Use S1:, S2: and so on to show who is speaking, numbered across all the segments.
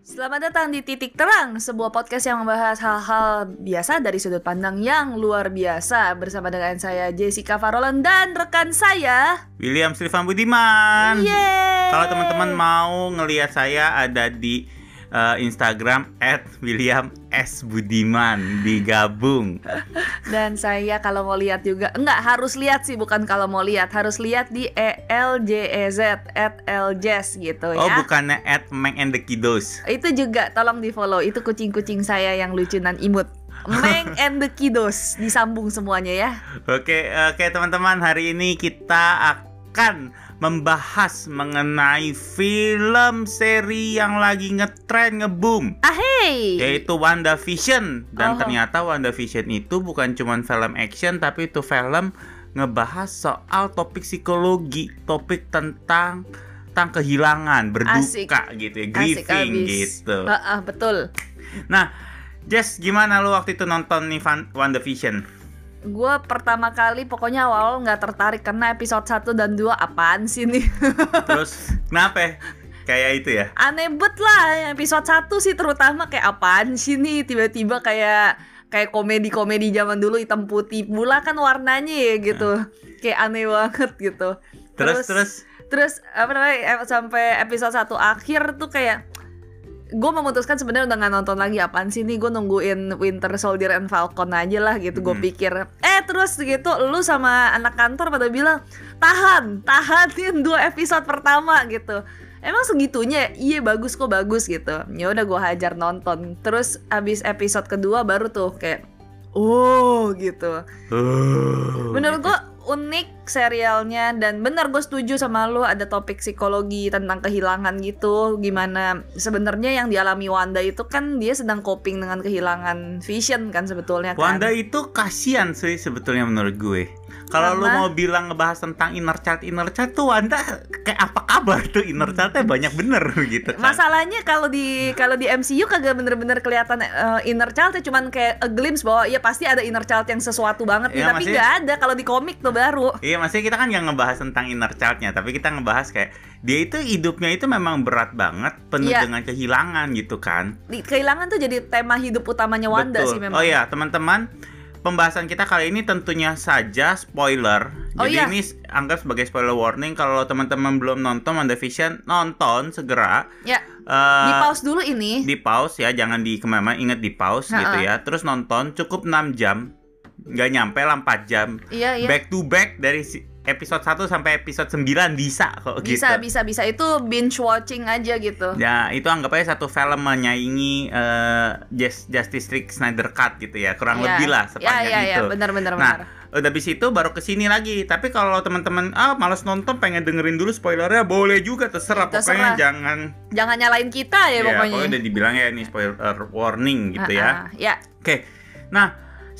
S1: Selamat datang di Titik Terang, sebuah podcast yang membahas hal-hal biasa dari sudut pandang yang luar biasa bersama dengan saya Jessica Farolan dan rekan saya.
S2: William Silvan Budiman.
S1: Iya. Yeay.
S2: Kalau teman-teman mau ngelihat saya ada di eh, Instagram @williamsbudiman digabung.
S1: dan saya kalau mau lihat juga enggak harus lihat sih bukan kalau mau lihat harus lihat di E ELJEZ at LJEZ gitu
S2: Oh,
S1: ya.
S2: bukannya @meng and the kiddos.
S1: Itu juga tolong di follow. Itu kucing-kucing saya yang lucu dan imut. Meng and the Kiddos disambung semuanya ya.
S2: Oke, oke teman-teman, hari ini kita akan membahas mengenai film seri yang lagi ngetren ngeboom
S1: Ah hey.
S2: yaitu WandaVision
S1: Oh.
S2: dan ternyata WandaVision itu bukan cuman film action tapi itu film ngebahas soal topik psikologi, topik tentang tentang kehilangan, berduka
S1: Asik.
S2: gitu ya,
S1: Asik
S2: grieving
S1: abis.
S2: gitu.
S1: Ah, ah, betul.
S2: Nah, Jess gimana lu waktu itu nonton nih Van- WandaVision?
S1: Gue pertama kali pokoknya awal nggak tertarik karena episode 1 dan 2 apaan sih nih?
S2: Terus kenapa? ya? Kayak itu ya.
S1: Aneh bet lah episode 1 sih terutama kayak apaan sih nih tiba-tiba kayak kayak komedi-komedi zaman dulu hitam putih pula kan warnanya ya gitu. Kayak aneh banget gitu.
S2: Nah. Terus terus,
S1: terus apa namanya eh, sampai episode 1 akhir tuh kayak gue memutuskan sebenarnya udah nggak nonton lagi apaan sih nih gue nungguin Winter Soldier and Falcon aja lah gitu gue
S2: Hmm.
S1: pikir eh terus gitu lu sama anak kantor pada bilang tahan tahanin dua episode pertama gitu emang segitunya iya bagus kok bagus gitu ya udah gue hajar nonton terus abis episode kedua baru tuh kayak oh gitu
S2: Uh,
S1: Menurut gua unik serialnya dan bener gue setuju sama lu ada topik psikologi tentang kehilangan gitu gimana sebenarnya yang dialami Wanda itu kan dia sedang coping dengan kehilangan Vision kan sebetulnya kan
S2: Wanda itu kasihan sih sebetulnya menurut gue. Kalau lu
S1: Karena-
S2: mau bilang ngebahas tentang inner child, inner child tuh Wanda kayak apa kabar tuh
S1: Hmm.
S2: inner childnya banyak bener gitu kan.
S1: masalahnya kalau di kalau di MCU kagak bener-bener kelihatan eh, inner child cuman kayak a glimpse bahwa ya pasti ada inner child yang sesuatu banget nih
S2: Iya,
S1: tapi
S2: maksudnya-
S1: nggak ada kalau di komik tuh baru
S2: Iya maksudnya kita kan nggak ngebahas tentang inner childnya, tapi kita ngebahas kayak dia itu hidupnya itu memang berat banget, penuh
S1: Iya.
S2: dengan kehilangan gitu kan.
S1: Di- kehilangan tuh jadi tema hidup utamanya Wanda
S2: Betul.
S1: sih memang
S2: Oh iya teman-teman, pembahasan kita kali ini tentunya saja spoiler.
S1: Oh
S2: Jadi
S1: iya.
S2: ini s- anggap sebagai spoiler warning kalau teman-teman belum nonton WandaVision, nonton segera.
S1: ya
S2: Eh,
S1: di pause dulu ini
S2: di pause ya jangan di kemana inget di pause
S1: Ha-ha.
S2: gitu ya terus nonton cukup 6 jam nggak nyampe lah 4 jam
S1: iya iya
S2: back to back dari si- episode 1 sampai episode 9 bisa kok
S1: bisa
S2: gitu
S1: bisa bisa itu binge watching aja gitu
S2: ya itu anggap aja satu film menyaingi eh, Jus- Justice League Snyder Cut gitu ya kurang
S1: Ya.
S2: lebih lah
S1: ya
S2: sepanjang
S1: ya ya
S2: itu
S1: benar benar
S2: Nah,
S1: benar
S2: udah habis itu baru kesini lagi tapi kalau teman-teman ah malas nonton pengen dengerin dulu spoilernya boleh juga terserah,
S1: Terserah.
S2: pokoknya jangan
S1: jangan nyalain kita ya,
S2: ya,
S1: pokoknya
S2: pokoknya udah dibilang ya ini spoiler warning gitu ya
S1: Ah, ah, ya
S2: Oke, nah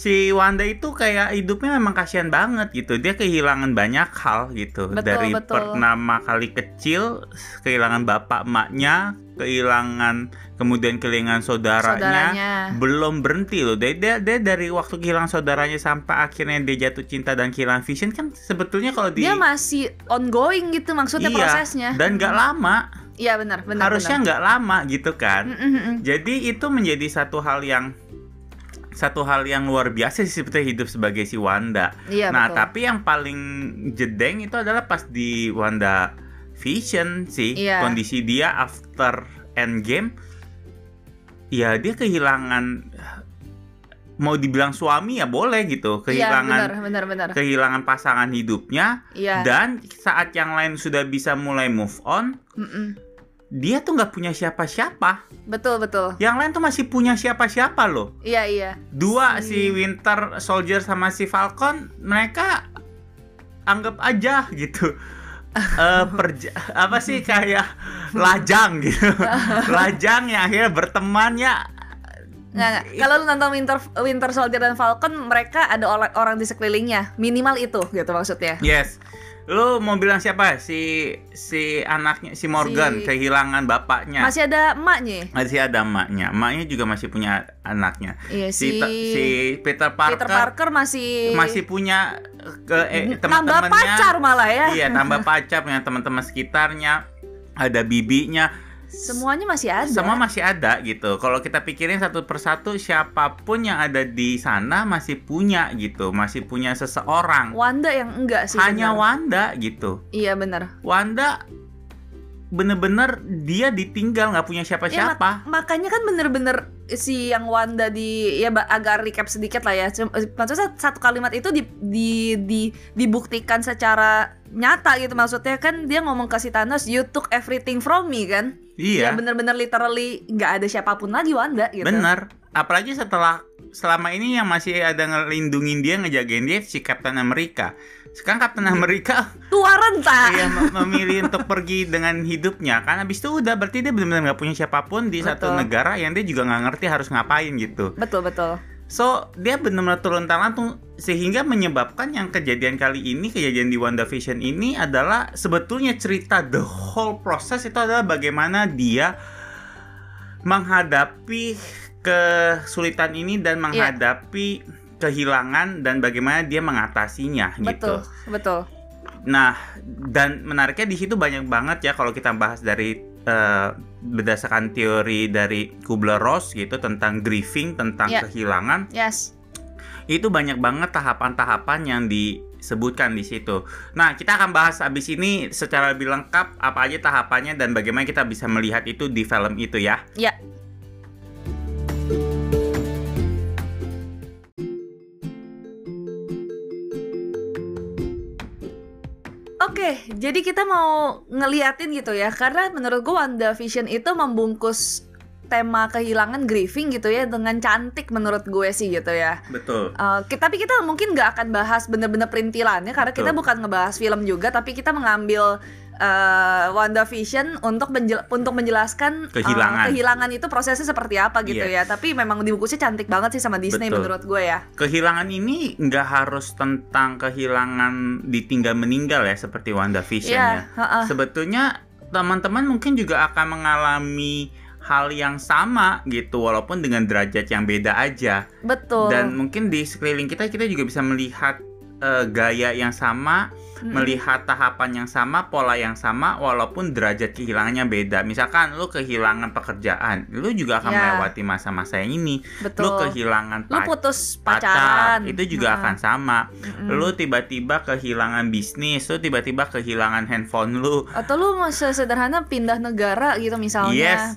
S2: si Wanda itu kayak hidupnya memang kasihan banget gitu. Dia kehilangan banyak hal gitu.
S1: Betul,
S2: Dari
S1: betul.
S2: pertama kali kecil, kehilangan bapak emaknya, kehilangan kemudian kehilangan saudaranya.
S1: saudaranya
S2: Belum berhenti loh. Dia, dia, dia dari waktu kehilangan saudaranya sampai akhirnya dia jatuh cinta dan kehilangan vision kan sebetulnya kalau di
S1: dia masih ongoing gitu maksudnya
S2: Iya,
S1: prosesnya
S2: dan nggak lama,
S1: iya benar benar
S2: harusnya nggak lama gitu kan.
S1: benar. Mm, mm, mm.
S2: Jadi itu menjadi satu hal yang satu hal yang luar biasa sih sebetulnya hidup sebagai si Wanda.
S1: iya
S2: nah,
S1: betul
S2: tapi yang paling jedeng itu adalah pas di Wanda Vision sih
S1: Iya.
S2: kondisi dia after Endgame. Ya dia kehilangan mau dibilang suami ya boleh gitu,
S1: iya
S2: kehilangan
S1: benar benar benar
S2: kehilangan pasangan hidupnya
S1: iya
S2: dan saat yang lain sudah bisa mulai move on,
S1: mm, mm.
S2: dia tuh nggak punya siapa-siapa.
S1: betul betul
S2: Yang lain tuh masih punya siapa-siapa loh.
S1: iya iya
S2: Dua
S1: Si-
S2: si Winter Soldier sama si Falcon, mereka anggap aja gitu. Eh, perja- apa sih kayak lajang gitu. lajang yang akhirnya berteman ya.
S1: Nggak, nggak.
S2: Itu-
S1: Kalau lu nonton Winter Winter Soldier dan Falcon, mereka ada orang orang di sekelilingnya, minimal itu gitu maksudnya.
S2: Yes. Lu mau bilang siapa? Si si anaknya si Morgan
S1: Si-
S2: kehilangan bapaknya.
S1: Masih
S2: Masih,
S1: ada emaknya.
S2: ada emaknya. Emaknya juga masih punya anaknya.
S1: Iya
S2: Si
S1: si,
S2: si, Peter Parker,
S1: Peter Parker Nah, masih
S2: masih punya eh, ke eh,
S1: tambah
S2: teman-temannya.
S1: pacar malah ya.
S2: Iya, tambah pacar punya teman-teman sekitarnya, ada bibinya.
S1: Semuanya masih ada.
S2: Semua masih ada gitu. Kalau kita pikirin satu persatu siapapun yang ada di sana masih punya gitu, masih punya seseorang.
S1: Wanda yang enggak sih.
S2: Hanya
S1: benar.
S2: Wanda gitu.
S1: Iya benar.
S2: Wanda bener-bener dia ditinggal nggak punya
S1: Ya,
S2: siapa-siapa.
S1: Makanya kan bener-bener si yang Wanda di ya ba- agak recap sedikit lah ya. Cuma- Maksudnya satu kalimat itu di, di, di- dibuktikan secara nyata gitu maksudnya kan dia ngomong ke si Thanos you took everything from me kan. Ya
S2: iya.
S1: bener-bener literally nggak ada siapapun lagi Wanda gitu.
S2: Bener. Apalagi setelah selama ini yang masih ada ngelindungin dia, ngejagain dia si Captain America. Sekarang Captain
S1: Iya.
S2: America
S1: Tua renta.
S2: iya mem- memilih untuk pergi dengan hidupnya kan habis itu udah berarti dia benar-benar nggak punya siapapun di satu
S1: Betul.
S2: negara yang dia juga nggak ngerti harus ngapain gitu.
S1: Betul betul.
S2: So dia benar-benar turun tangan tuh sehingga menyebabkan yang kejadian kali ini kejadian di WandaVision ini adalah sebetulnya cerita the whole proses itu adalah bagaimana dia menghadapi kesulitan ini
S1: Iya.
S2: dan menghadapi kehilangan dan bagaimana dia mengatasinya gitu.
S1: Betul betul.
S2: Nah, dan menariknya di situ banyak banget ya kalau kita bahas dari eh, berdasarkan teori dari Kubler-Ross gitu tentang grieving, tentang
S1: Ya.
S2: kehilangan,
S1: Yes.
S2: itu banyak banget tahapan-tahapan yang disebutkan di situ. Nah, kita akan bahas abis ini secara lebih lengkap apa aja tahapannya dan bagaimana kita bisa melihat itu di film itu ya.
S1: Ya. Oke, jadi kita mau ngeliatin gitu ya, karena menurut gue WandaVision itu membungkus tema kehilangan grieving gitu ya dengan cantik menurut gue sih gitu ya.
S2: Betul.
S1: Eh, kita, tapi kita mungkin nggak akan bahas bener-bener perintilannya karena kita
S2: Betul.
S1: bukan ngebahas film juga tapi kita mengambil eh, WandaVision untuk menjel- untuk menjelaskan eh,
S2: Kehilangan.
S1: kehilangan itu prosesnya seperti apa gitu
S2: Yes.
S1: ya tapi memang dibungkusnya cantik banget sih sama Disney
S2: Betul.
S1: menurut gue ya
S2: Kehilangan ini nggak harus tentang kehilangan ditinggal meninggal ya seperti WandaVision
S1: Iya,
S2: ya.
S1: heeh.
S2: sebetulnya teman-teman mungkin juga akan mengalami hal yang sama gitu walaupun dengan derajat yang beda aja
S1: betul
S2: dan mungkin di sekeliling kita kita juga bisa melihat eh, gaya yang sama
S1: Mm-mm.
S2: melihat tahapan yang sama pola yang sama walaupun derajat kehilangannya beda misalkan lu kehilangan pekerjaan lu juga akan
S1: Ya.
S2: melewati masa-masa yang ini
S1: betul
S2: lu kehilangan
S1: Lu
S2: pac-
S1: putus
S2: pacar
S1: pacaran Hmm.
S2: itu juga
S1: Heeh.
S2: akan sama
S1: Mm-mm.
S2: lu tiba-tiba kehilangan bisnis lu tiba-tiba kehilangan handphone lu
S1: atau lu mau sederhana pindah negara gitu misalnya
S2: Yes.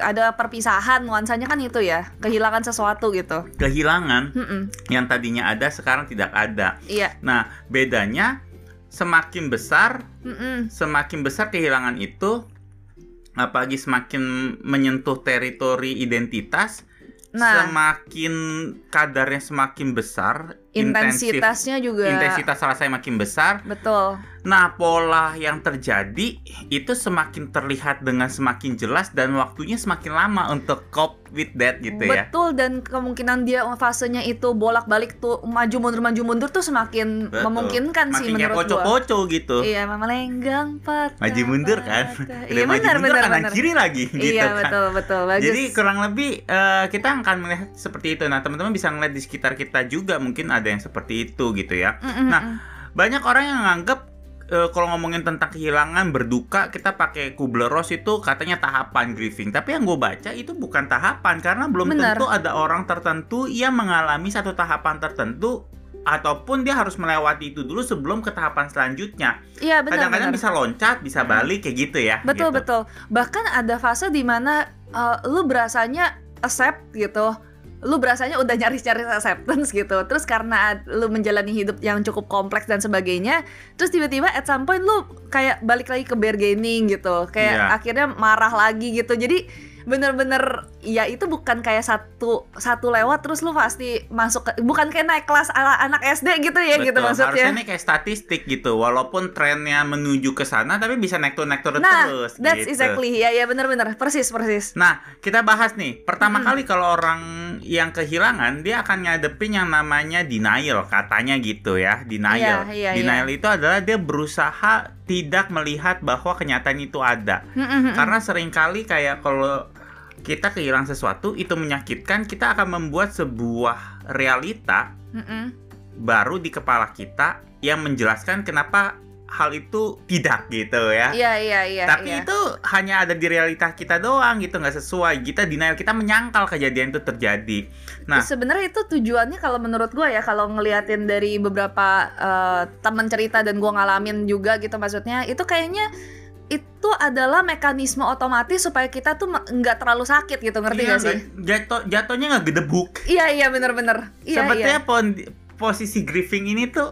S1: ada perpisahan nuansanya kan itu ya kehilangan sesuatu gitu
S2: kehilangan
S1: Mm-mm.
S2: yang tadinya ada sekarang tidak ada.
S1: iya
S2: Nah, bedanya semakin besar,
S1: Mm-mm.
S2: semakin besar kehilangan itu apalagi semakin menyentuh teritori identitas,
S1: Nah.
S2: semakin kadarnya semakin besar, intensif-
S1: intensitasnya juga
S2: intensitas rasa yang makin besar.
S1: betul
S2: Nah, pola yang terjadi itu semakin terlihat dengan semakin jelas dan waktunya semakin lama untuk cope with that gitu ya.
S1: betul dan kemungkinan dia fasenya itu bolak-balik tuh maju mundur maju mundur tuh semakin
S2: Betul.
S1: memungkinkan sih
S2: Makin kayak
S1: menurut gua
S2: poco-poco gitu.
S1: iya mama lenggang patah
S2: maju mundur kan
S1: patah.
S2: Udah
S1: iya
S2: maju
S1: benar
S2: mundur
S1: benar
S2: kanan
S1: benar
S2: kiri lagi gitu
S1: iya
S2: kan
S1: betul betul bagus
S2: jadi kurang lebih eh, kita akan melihat seperti itu nah teman-teman bisa ngeliat di sekitar kita juga mungkin ada yang seperti itu gitu ya
S1: Mm, mm,
S2: nah,
S1: mm.
S2: banyak orang yang nganggep eh, kalau ngomongin tentang kehilangan berduka kita pakai Kubler-Ross itu katanya tahapan grieving tapi yang gue baca itu bukan tahapan karena belum
S1: Benar.
S2: tentu ada orang tertentu yang mengalami satu tahapan tertentu ataupun dia harus melewati itu dulu sebelum ke tahapan selanjutnya
S1: iya benar
S2: kadang-kadang
S1: benar.
S2: bisa loncat bisa balik kayak gitu ya
S1: betul
S2: gitu.
S1: betul bahkan ada fase dimana uh, lu berasanya accept gitu lu berasanya udah nyaris-nyaris acceptance gitu terus karena ad- lu menjalani hidup yang cukup kompleks dan sebagainya terus tiba-tiba at some point lu kayak balik lagi ke bargaining gitu kayak
S2: Iya.
S1: akhirnya marah lagi gitu jadi bener-bener ya itu bukan kayak satu satu lewat terus lu pasti masuk ke- bukan kayak naik kelas ala anak SD gitu ya gitu
S2: Betul,
S1: maksudnya
S2: Harusnya ini kayak statistik gitu. Walaupun trennya menuju ke sana tapi bisa naik turun naik turun
S1: nah
S2: terus
S1: that's
S2: gitu.
S1: exactly ya ya bener-bener persis persis
S2: Nah, kita bahas nih. Pertama
S1: Mm-mm.
S2: kali kalau orang yang kehilangan dia akan ngadepin yang namanya denial, katanya gitu ya, denial.
S1: Iya, iya,
S2: denial itu adalah dia berusaha tidak melihat bahwa kenyataan itu ada. Karena seringkali kayak kalau kita kehilangan sesuatu itu menyakitkan, kita akan membuat sebuah realita
S1: Mm-mm.
S2: baru di kepala kita yang menjelaskan kenapa hal itu tidak gitu ya.
S1: Iya iya iya.
S2: Tapi
S1: iya.
S2: itu hanya ada di realita kita doang gitu, nggak sesuai. Kita denial, kita menyangkal kejadian itu terjadi. nah.
S1: sebenarnya itu tujuannya kalau menurut gue ya kalau ngeliatin dari beberapa eh, teman cerita dan gue ngalamin juga gitu maksudnya itu kayaknya itu adalah mekanisme otomatis supaya kita tuh me- nggak terlalu sakit gitu ngerti
S2: Iya,
S1: gak sih?
S2: nggak- Jatuh, jatuhnya nggak gedebuk.
S1: Iya iya bener-bener. Iya iya.
S2: Sepertinya pon- posisi grieving ini tuh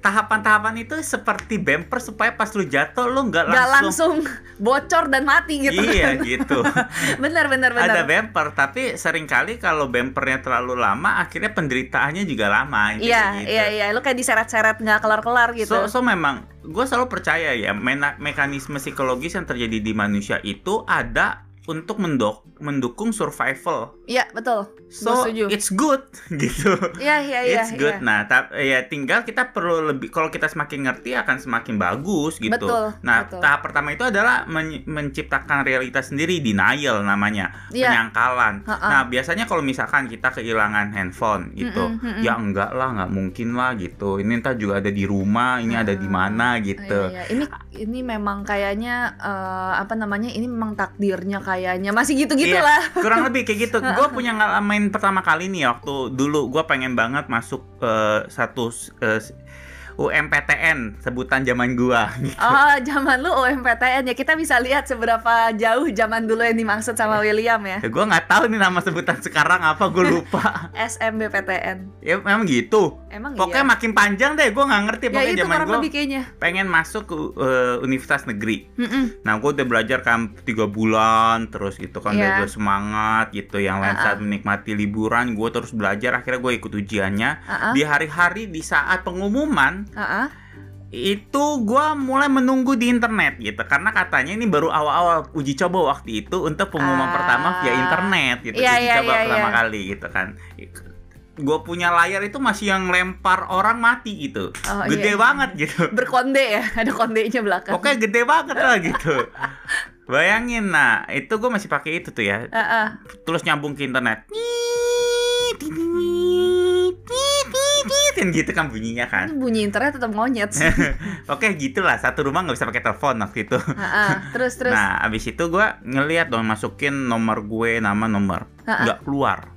S2: tahapan-tahapan itu seperti bumper supaya pas lu jatuh lu nggak
S1: Nggak
S2: langsung,
S1: langsung bocor dan mati gitu.
S2: iya gitu.
S1: bener bener bener.
S2: Ada bumper tapi seringkali kalau bumpernya terlalu lama akhirnya penderitaannya juga lama intinya
S1: Iya
S2: gitu.
S1: iya iya. Lu kayak diseret-seret nggak kelar-kelar gitu.
S2: So, so memang gue selalu percaya ya mena- mekanisme psikologis yang terjadi di manusia itu ada untuk mendok- mendukung survival.
S1: Iya betul. Gua
S2: So
S1: setuju.
S2: it's good gitu.
S1: Iya iya iya.
S2: It's good.
S1: iya.
S2: Nah, ta- ya tinggal kita perlu lebih kalau kita semakin ngerti akan semakin bagus gitu.
S1: Betul,
S2: nah,
S1: betul.
S2: tahap pertama itu adalah men- menciptakan realitas sendiri denial namanya,
S1: Iya.
S2: penyangkalan.
S1: Ha-ha.
S2: Nah, biasanya kalau misalkan kita kehilangan handphone gitu,
S1: Mm-mm, mm-mm.
S2: ya enggak lah, nggak mungkin lah gitu. Ini entar juga ada di rumah, ini ada di
S1: Hmm. Iya,
S2: mana gitu.
S1: iya. Ini ini memang kayaknya eh, apa namanya? Ini memang takdirnya kayaknya masih gitu-gitu
S2: Iya.
S1: lah.
S2: Kurang lebih kayak gitu. Gue punya ngalamin pertama kali nih waktu dulu gue pengen banget masuk eh, satu eh, UMPTN sebutan zaman gua
S1: Oh, zaman lu UMPTN ya kita bisa lihat seberapa jauh zaman dulu yang dimaksud sama William ya.
S2: Ya, gue nggak tahu nih nama sebutan sekarang apa gue lupa
S1: SMBPTN.
S2: ya memang gitu
S1: Emang
S2: pokoknya
S1: iya.
S2: makin panjang deh gue nggak ngerti
S1: Ya
S2: pokoknya
S1: itu
S2: zaman
S1: kurang
S2: gue
S1: lebih kayaknya.
S2: pengen masuk ke eh, universitas negeri
S1: Mm-mm.
S2: nah gue udah belajar kan tiga bulan terus gitu kan
S1: Iya.
S2: udah gue semangat gitu yang lain saat menikmati liburan gue terus belajar akhirnya gue ikut ujiannya
S1: Ah, ah,
S2: di hari-hari di saat pengumuman
S1: ah, ah.
S2: itu gue mulai menunggu di internet gitu karena katanya ini baru awal-awal uji coba waktu itu untuk pengumuman
S1: Ah.
S2: pertama via internet gitu
S1: Iya,
S2: uji
S1: iya,
S2: coba
S1: iya,
S2: pertama
S1: iya.
S2: kali gitu kan gue punya layar itu masih yang lempar orang mati gitu
S1: Oh,
S2: gede
S1: iya.
S2: banget gitu
S1: Berkonde ya, ada kondenya belakang.
S2: pokoknya gede banget lah gitu bayangin nah itu gue masih pakai itu tuh ya
S1: Ah, ah.
S2: terus nyambung ke internet Tiit, tiit, tiit, tiit, tiit, kan gitu kan bunyinya kan
S1: Ini bunyi internet tetap monyet. sih.
S2: Oke gitulah satu rumah nggak bisa pakai telepon waktu itu.
S1: Ah, ah. Terus terus.
S2: Nah abis itu gua ngelihat dong masukin nomor gue nama nomor
S1: Ah, ah.
S2: nggak keluar.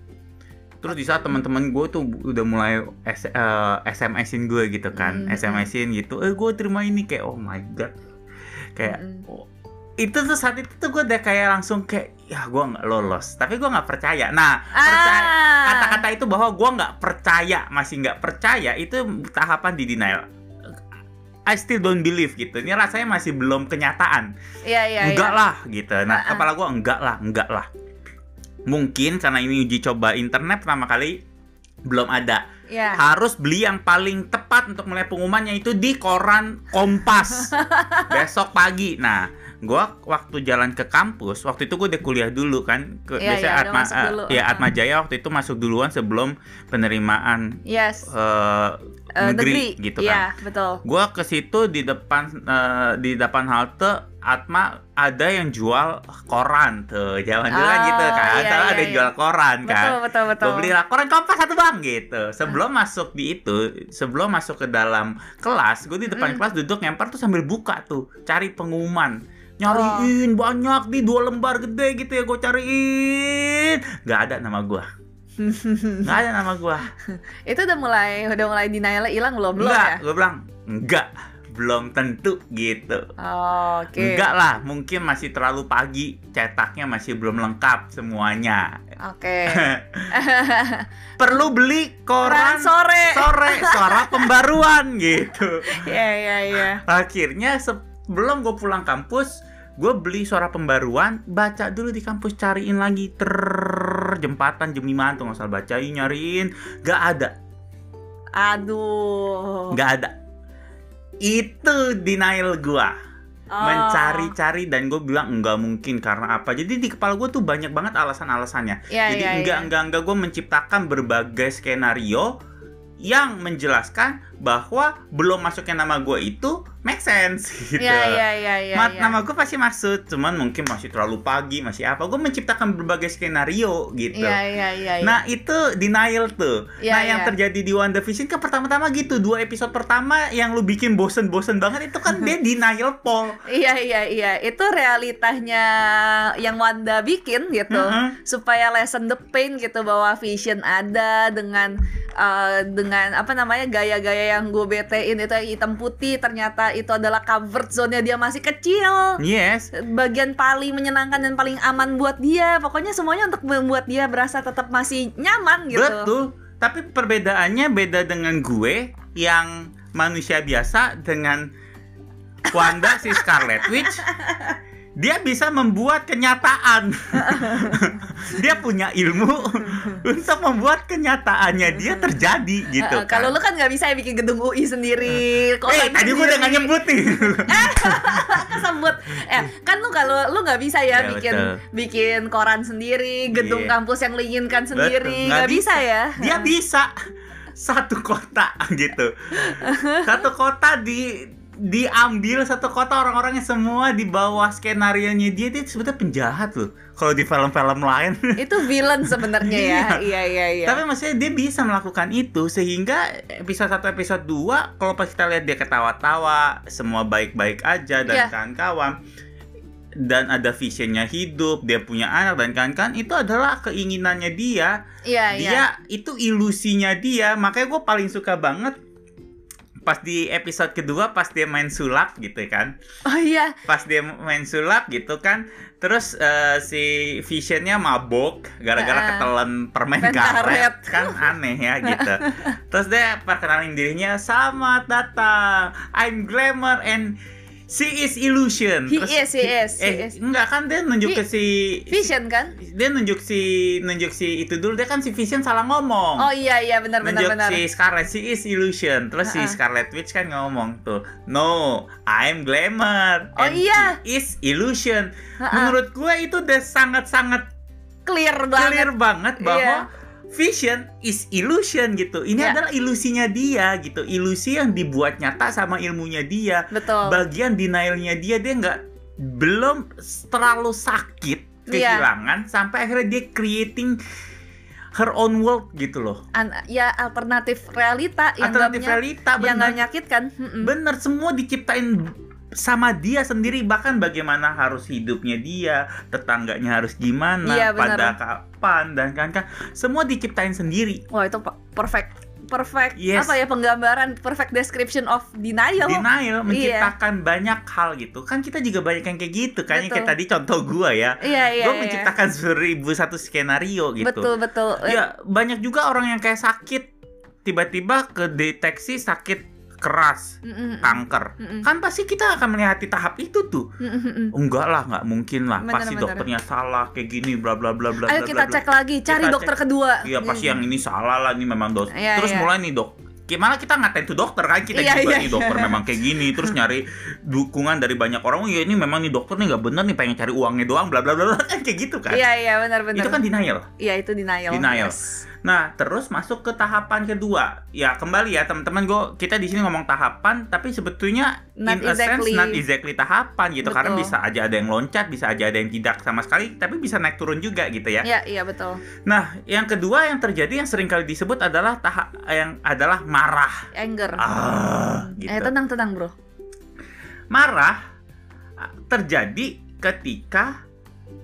S2: Terus di saat teman-teman gue tuh udah mulai S- eh, SMS-in gue gitu kan,
S1: Mm-mm.
S2: SMS-in gitu, eh gue terima ini kayak oh my god, kayak
S1: Mm-mm.
S2: oh. itu tuh saat itu tuh gue udah kayak langsung kayak ya gue nggak lolos, tapi gue nggak percaya. Nah percaya,
S1: Ah.
S2: kata-kata itu bahwa gue nggak percaya masih nggak percaya itu tahapan di denial I still don't believe gitu ini rasanya masih belum kenyataan
S1: Iya, iya, iya.
S2: enggak lah gitu
S1: Ah,
S2: nah
S1: ah.
S2: kepala gue enggak lah enggak lah mungkin karena ini uji coba internet pertama kali belum ada
S1: Iya.
S2: harus beli yang paling tepat untuk mulai pengumumannya itu di koran Kompas besok pagi nah gue waktu jalan ke kampus waktu itu gue udah kuliah dulu kan ke,
S1: Iya,
S2: biasanya
S1: iya, udah
S2: Atma
S1: masuk
S2: eh,
S1: dulu.
S2: ya
S1: Ah.
S2: Atma Jaya waktu itu masuk duluan sebelum penerimaan
S1: Yes.
S2: eh,
S1: Eh,
S2: negeri, gitu
S1: Iya,
S2: kan
S1: betul.
S2: gue ke situ di depan eh, di depan halte Atma ada yang jual koran tuh jalan jalan
S1: Ah,
S2: gitu kan
S1: iya,
S2: Soalnya
S1: iya,
S2: ada yang
S1: iya.
S2: jual koran kan
S1: Betul, betul, betul.
S2: gue belilah koran kompas satu bang gitu sebelum
S1: Ah.
S2: masuk di itu sebelum masuk ke dalam kelas gue di
S1: Mm.
S2: depan kelas duduk ngemper tuh sambil buka tuh cari pengumuman nyariin
S1: Oh.
S2: banyak di dua lembar gede gitu ya gue cariin nggak ada nama gue nggak ada nama gue
S1: itu udah mulai udah mulai denial hilang belum belum
S2: nggak
S1: ya?
S2: gue bilang nggak belum tentu gitu
S1: Oh, Oke.
S2: Enggak lah, mungkin masih terlalu pagi, cetaknya masih belum lengkap semuanya.
S1: Oke.
S2: Perlu beli
S1: Koran
S2: koran
S1: sore.
S2: sore suara pembaruan gitu.
S1: Iya, iya, iya.
S2: Akhirnya sebelum gue pulang kampus, gue beli suara pembaruan, baca dulu di kampus, cariin lagi ter jempatan jemiman tuh nggak usah bacain nyariin, nggak ada,
S1: Aduh.
S2: nggak ada. Itu denial gua.
S1: Oh.
S2: mencari-cari dan gue bilang nggak mungkin karena apa jadi di kepala gue tuh banyak banget alasan-alasannya
S1: Iya,
S2: jadi
S1: iya,
S2: enggak
S1: iya.
S2: enggak enggak gue menciptakan berbagai skenario yang menjelaskan bahwa belum masuknya nama gue itu make sense gitu.
S1: Iya, iya, iya, iya.
S2: Mat,
S1: iya.
S2: nama gue pasti masuk, cuman mungkin masih terlalu pagi, masih apa. Gue menciptakan berbagai skenario gitu.
S1: Iya, iya, iya. iya.
S2: Nah itu denial tuh.
S1: Iya,
S2: nah yang
S1: iya.
S2: terjadi di WandaVision kan pertama-tama gitu dua episode pertama yang lu bikin bosen-bosen banget itu kan dia denial Paul.
S1: Iya iya iya itu realitanya yang Wanda bikin gitu
S2: Mhm.
S1: supaya lessen the pain gitu bahwa vision ada dengan eh, dengan apa namanya gaya-gaya yang gue betein itu yang hitam putih ternyata itu adalah comfort zone-nya dia masih kecil
S2: Yes.
S1: bagian paling menyenangkan dan paling aman buat dia pokoknya semuanya untuk membuat dia berasa tetap masih nyaman gitu
S2: Betul. Tapi perbedaannya beda dengan gue yang manusia biasa dengan Wanda si Scarlet Witch. Dia bisa membuat kenyataan. dia punya ilmu untuk membuat kenyataannya dia terjadi gitu.
S1: Eh, eh, kalau
S2: kan.
S1: lu kan nggak bisa ya bikin gedung UI sendiri
S2: eh
S1: kosan
S2: tadi gue udah nggak
S1: sendiri.
S2: nyebut nih.
S1: kesebut eh kan lu kalau lu nggak bisa ya
S2: Iya,
S1: bikin
S2: betul.
S1: bikin koran sendiri gedung
S2: Iya.
S1: kampus yang lu inginkan
S2: Betul,
S1: sendiri
S2: nggak
S1: nggak bisa ya
S2: dia bisa satu kota gitu. Satu kota di diambil satu kota orang-orangnya semua di bawah skenario nya dia dia sebetulnya penjahat loh kalau di film-film lain
S1: itu villain sebenarnya ya iya iya iya
S2: tapi maksudnya dia bisa melakukan itu sehingga episode 1 episode 2 kalau pas kita lihat dia ketawa-tawa semua baik-baik aja dan
S1: Iya.
S2: kawan-kawan dan ada visionnya hidup dia punya anak dan kawan-kawan itu adalah keinginannya dia
S1: iya iya
S2: dia itu ilusinya dia makanya gue paling suka banget pas di episode kedua pas dia main sulap gitu kan
S1: oh iya
S2: pas dia main sulap gitu kan terus eh, si visionnya mabok gara-gara
S1: Ah.
S2: ketelan permen
S1: Permen karet.
S2: karet kan aneh ya gitu terus dia perkenalin dirinya selamat datang I'm glamour and she is illusion
S1: He
S2: Terus-
S1: is, he is, he
S2: eh
S1: is.
S2: enggak kan dia nunjuk
S1: He-
S2: ke si
S1: vision kan
S2: dia nunjuk si nunjuk si itu dulu dia kan si Vision salah ngomong.
S1: oh iya iya benar benar
S2: nunjuk
S1: benar
S2: si Scarlet si is illusion.
S1: Ha-ha.
S2: Terus si Scarlet Witch kan ngomong tuh, "No, I'm glamour
S1: Oh,
S2: and
S1: iya.
S2: she is illusion."
S1: Ha-ha.
S2: Menurut gue itu udah sangat-sangat
S1: clear banget
S2: clear banget
S1: Iya.
S2: bahwa Vision is illusion gitu. Ini
S1: Iya.
S2: adalah ilusinya dia gitu. Ilusi yang dibuat nyata sama ilmunya dia.
S1: betul
S2: Bagian denialnya dia dia nggak belum terlalu sakit
S1: Iya.
S2: kehilangan sampai akhirnya dia creating her own world gitu loh.
S1: An- ya alternatif realita yang nggak
S2: Alternatif
S1: menya-
S2: realita
S1: yang nggak
S2: bener,
S1: menyakitkan Mm-mm.
S2: bener semua diciptain sama dia sendiri bahkan bagaimana harus hidupnya dia, tetangganya harus gimana,
S1: Iya, bener.
S2: pada kapan dan kan kan semua diciptain sendiri.
S1: wah itu pe- perfect perfect
S2: Yes.
S1: apa ya penggambaran perfect description of denial Iya.
S2: Denial menciptakan banyak hal gitu. Kan kita juga banyak yang kayak gitu. Kayaknya kayak
S1: Betul.
S2: tadi contoh gua ya.
S1: iya iya
S2: gue
S1: iya.
S2: menciptakan seribu satu skenario gitu.
S1: betul betul
S2: Ya banyak juga orang yang kayak sakit tiba-tiba kedeteksi sakit keras
S1: Mm-mm.
S2: kanker.
S1: Mm-mm.
S2: Kan pasti kita akan melihati tahap itu tuh.
S1: Mm-mm.
S2: Enggak lah, nggak mungkin lah.
S1: Bener,
S2: pasti
S1: bener.
S2: dokternya salah kayak gini, bla bla bla bla.
S1: Ayo
S2: bla,
S1: kita
S2: bla,
S1: cek lagi, cari
S2: Kita
S1: dokter kedua.
S2: bla. Iya pasti yang ini salah lah, ini memang dos.
S1: Iya,
S2: Terus
S1: iya.
S2: mulai nih dok. Gimana kita ngatain tuh dokter kan kita
S1: Iya,
S2: juga
S1: iya,
S2: nih dokter
S1: iya.
S2: memang kayak gini terus nyari dukungan dari banyak orang oh ya ini memang nih dokter nih nggak bener nih pengen cari uangnya doang bla bla bla bla. kan kayak gitu kan
S1: Iya iya benar benar.
S2: itu kan denial
S1: Iya itu denial.
S2: Denial.
S1: Yes.
S2: Nah, terus masuk ke tahapan kedua. Ya, kembali ya teman-teman, gue kita di sini ngomong tahapan, tapi sebetulnya
S1: Not
S2: in a sense
S1: exactly.
S2: not exactly tahapan gitu. Karena
S1: Betul.
S2: bisa aja ada yang loncat, bisa aja ada yang tidak sama sekali, tapi bisa naik turun juga gitu ya.
S1: Iya iya betul.
S2: Nah, yang kedua yang terjadi yang sering kali disebut adalah tahap yang adalah marah.
S1: Anger.
S2: Ah, gitu.
S1: Eh tenang tenang bro.
S2: Marah ah, terjadi ketika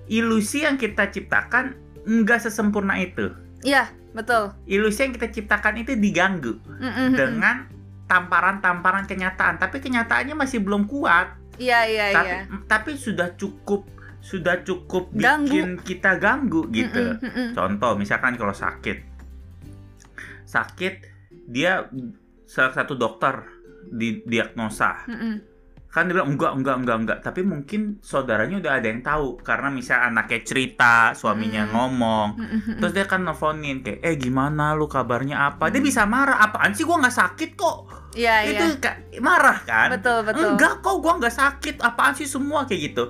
S2: ilusi yang kita ciptakan nggak sesempurna itu.
S1: Iya betul.
S2: Ilusi yang kita ciptakan itu diganggu.
S1: Mm-mm.
S2: dengan tamparan-tamparan kenyataan tapi kenyataannya masih belum kuat
S1: Iya iya
S2: tapi mm,
S1: iya.
S2: tapi sudah cukup sudah cukup
S1: Ganggu.
S2: bikin kita ganggu gitu
S1: Mm-mm, mm-mm.
S2: contoh misalkan kalau sakit sakit dia salah satu dokter di diagnosa
S1: Mm-mm.
S2: kan dia bilang enggak enggak enggak enggak tapi mungkin saudaranya udah ada yang tahu karena misalnya anaknya cerita suaminya
S1: Hmm.
S2: ngomong
S1: Mm-mm.
S2: Terus dia kan nelfonin kayak, eh gimana lu kabarnya apa? Dia
S1: Hmm.
S2: bisa marah, apaan sih gua nggak sakit kok?
S1: Iya iya.
S2: Itu ka- marah kan?
S1: Betul betul.
S2: Enggak kok, gua nggak sakit, apaan sih semua kayak gitu.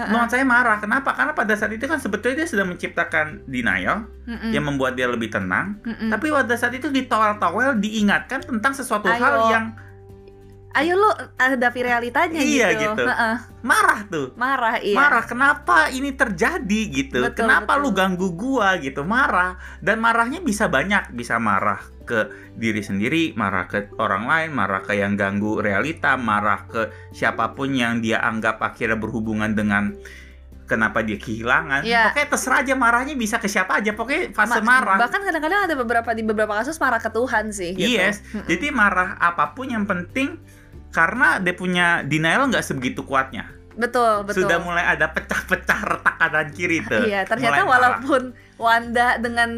S2: Nuan saya marah. Kenapa? Karena pada saat itu kan sebetulnya dia sudah menciptakan denial
S1: Mm-mm.
S2: yang membuat dia lebih tenang.
S1: Mm-mm.
S2: Ya, Tapi pada saat itu ditowel-towel diingatkan tentang sesuatu
S1: Ayo.
S2: hal yang
S1: ayo lu hadapi realitanya
S2: Iya,
S1: gitu,
S2: gitu.
S1: Heeh,
S2: marah tuh.
S1: marah iya
S2: Marah, kenapa ini terjadi gitu?
S1: Betul,
S2: kenapa
S1: betul.
S2: lu ganggu gua gitu? Marah dan marahnya bisa banyak, bisa marah ke diri sendiri, marah ke orang lain, marah ke yang ganggu realita, marah ke siapapun yang dia anggap akhirnya berhubungan dengan kenapa dia kehilangan.
S1: Iya.
S2: Pokoknya terserah aja marahnya bisa ke siapa aja, pokoknya fase
S1: Ma-
S2: marah.
S1: bahkan kadang-kadang ada beberapa di beberapa kasus marah ke Tuhan sih gitu.
S2: Yes.
S1: Mm-mm.
S2: Jadi marah apapun yang penting karena dia punya denial nggak sebegitu kuatnya.
S1: betul Oh, betul
S2: Sudah mulai ada pecah-pecah retak kanan kiri tuh.
S1: Iya, ternyata
S2: Gitu. Mulai marah.
S1: walaupun Wanda dengan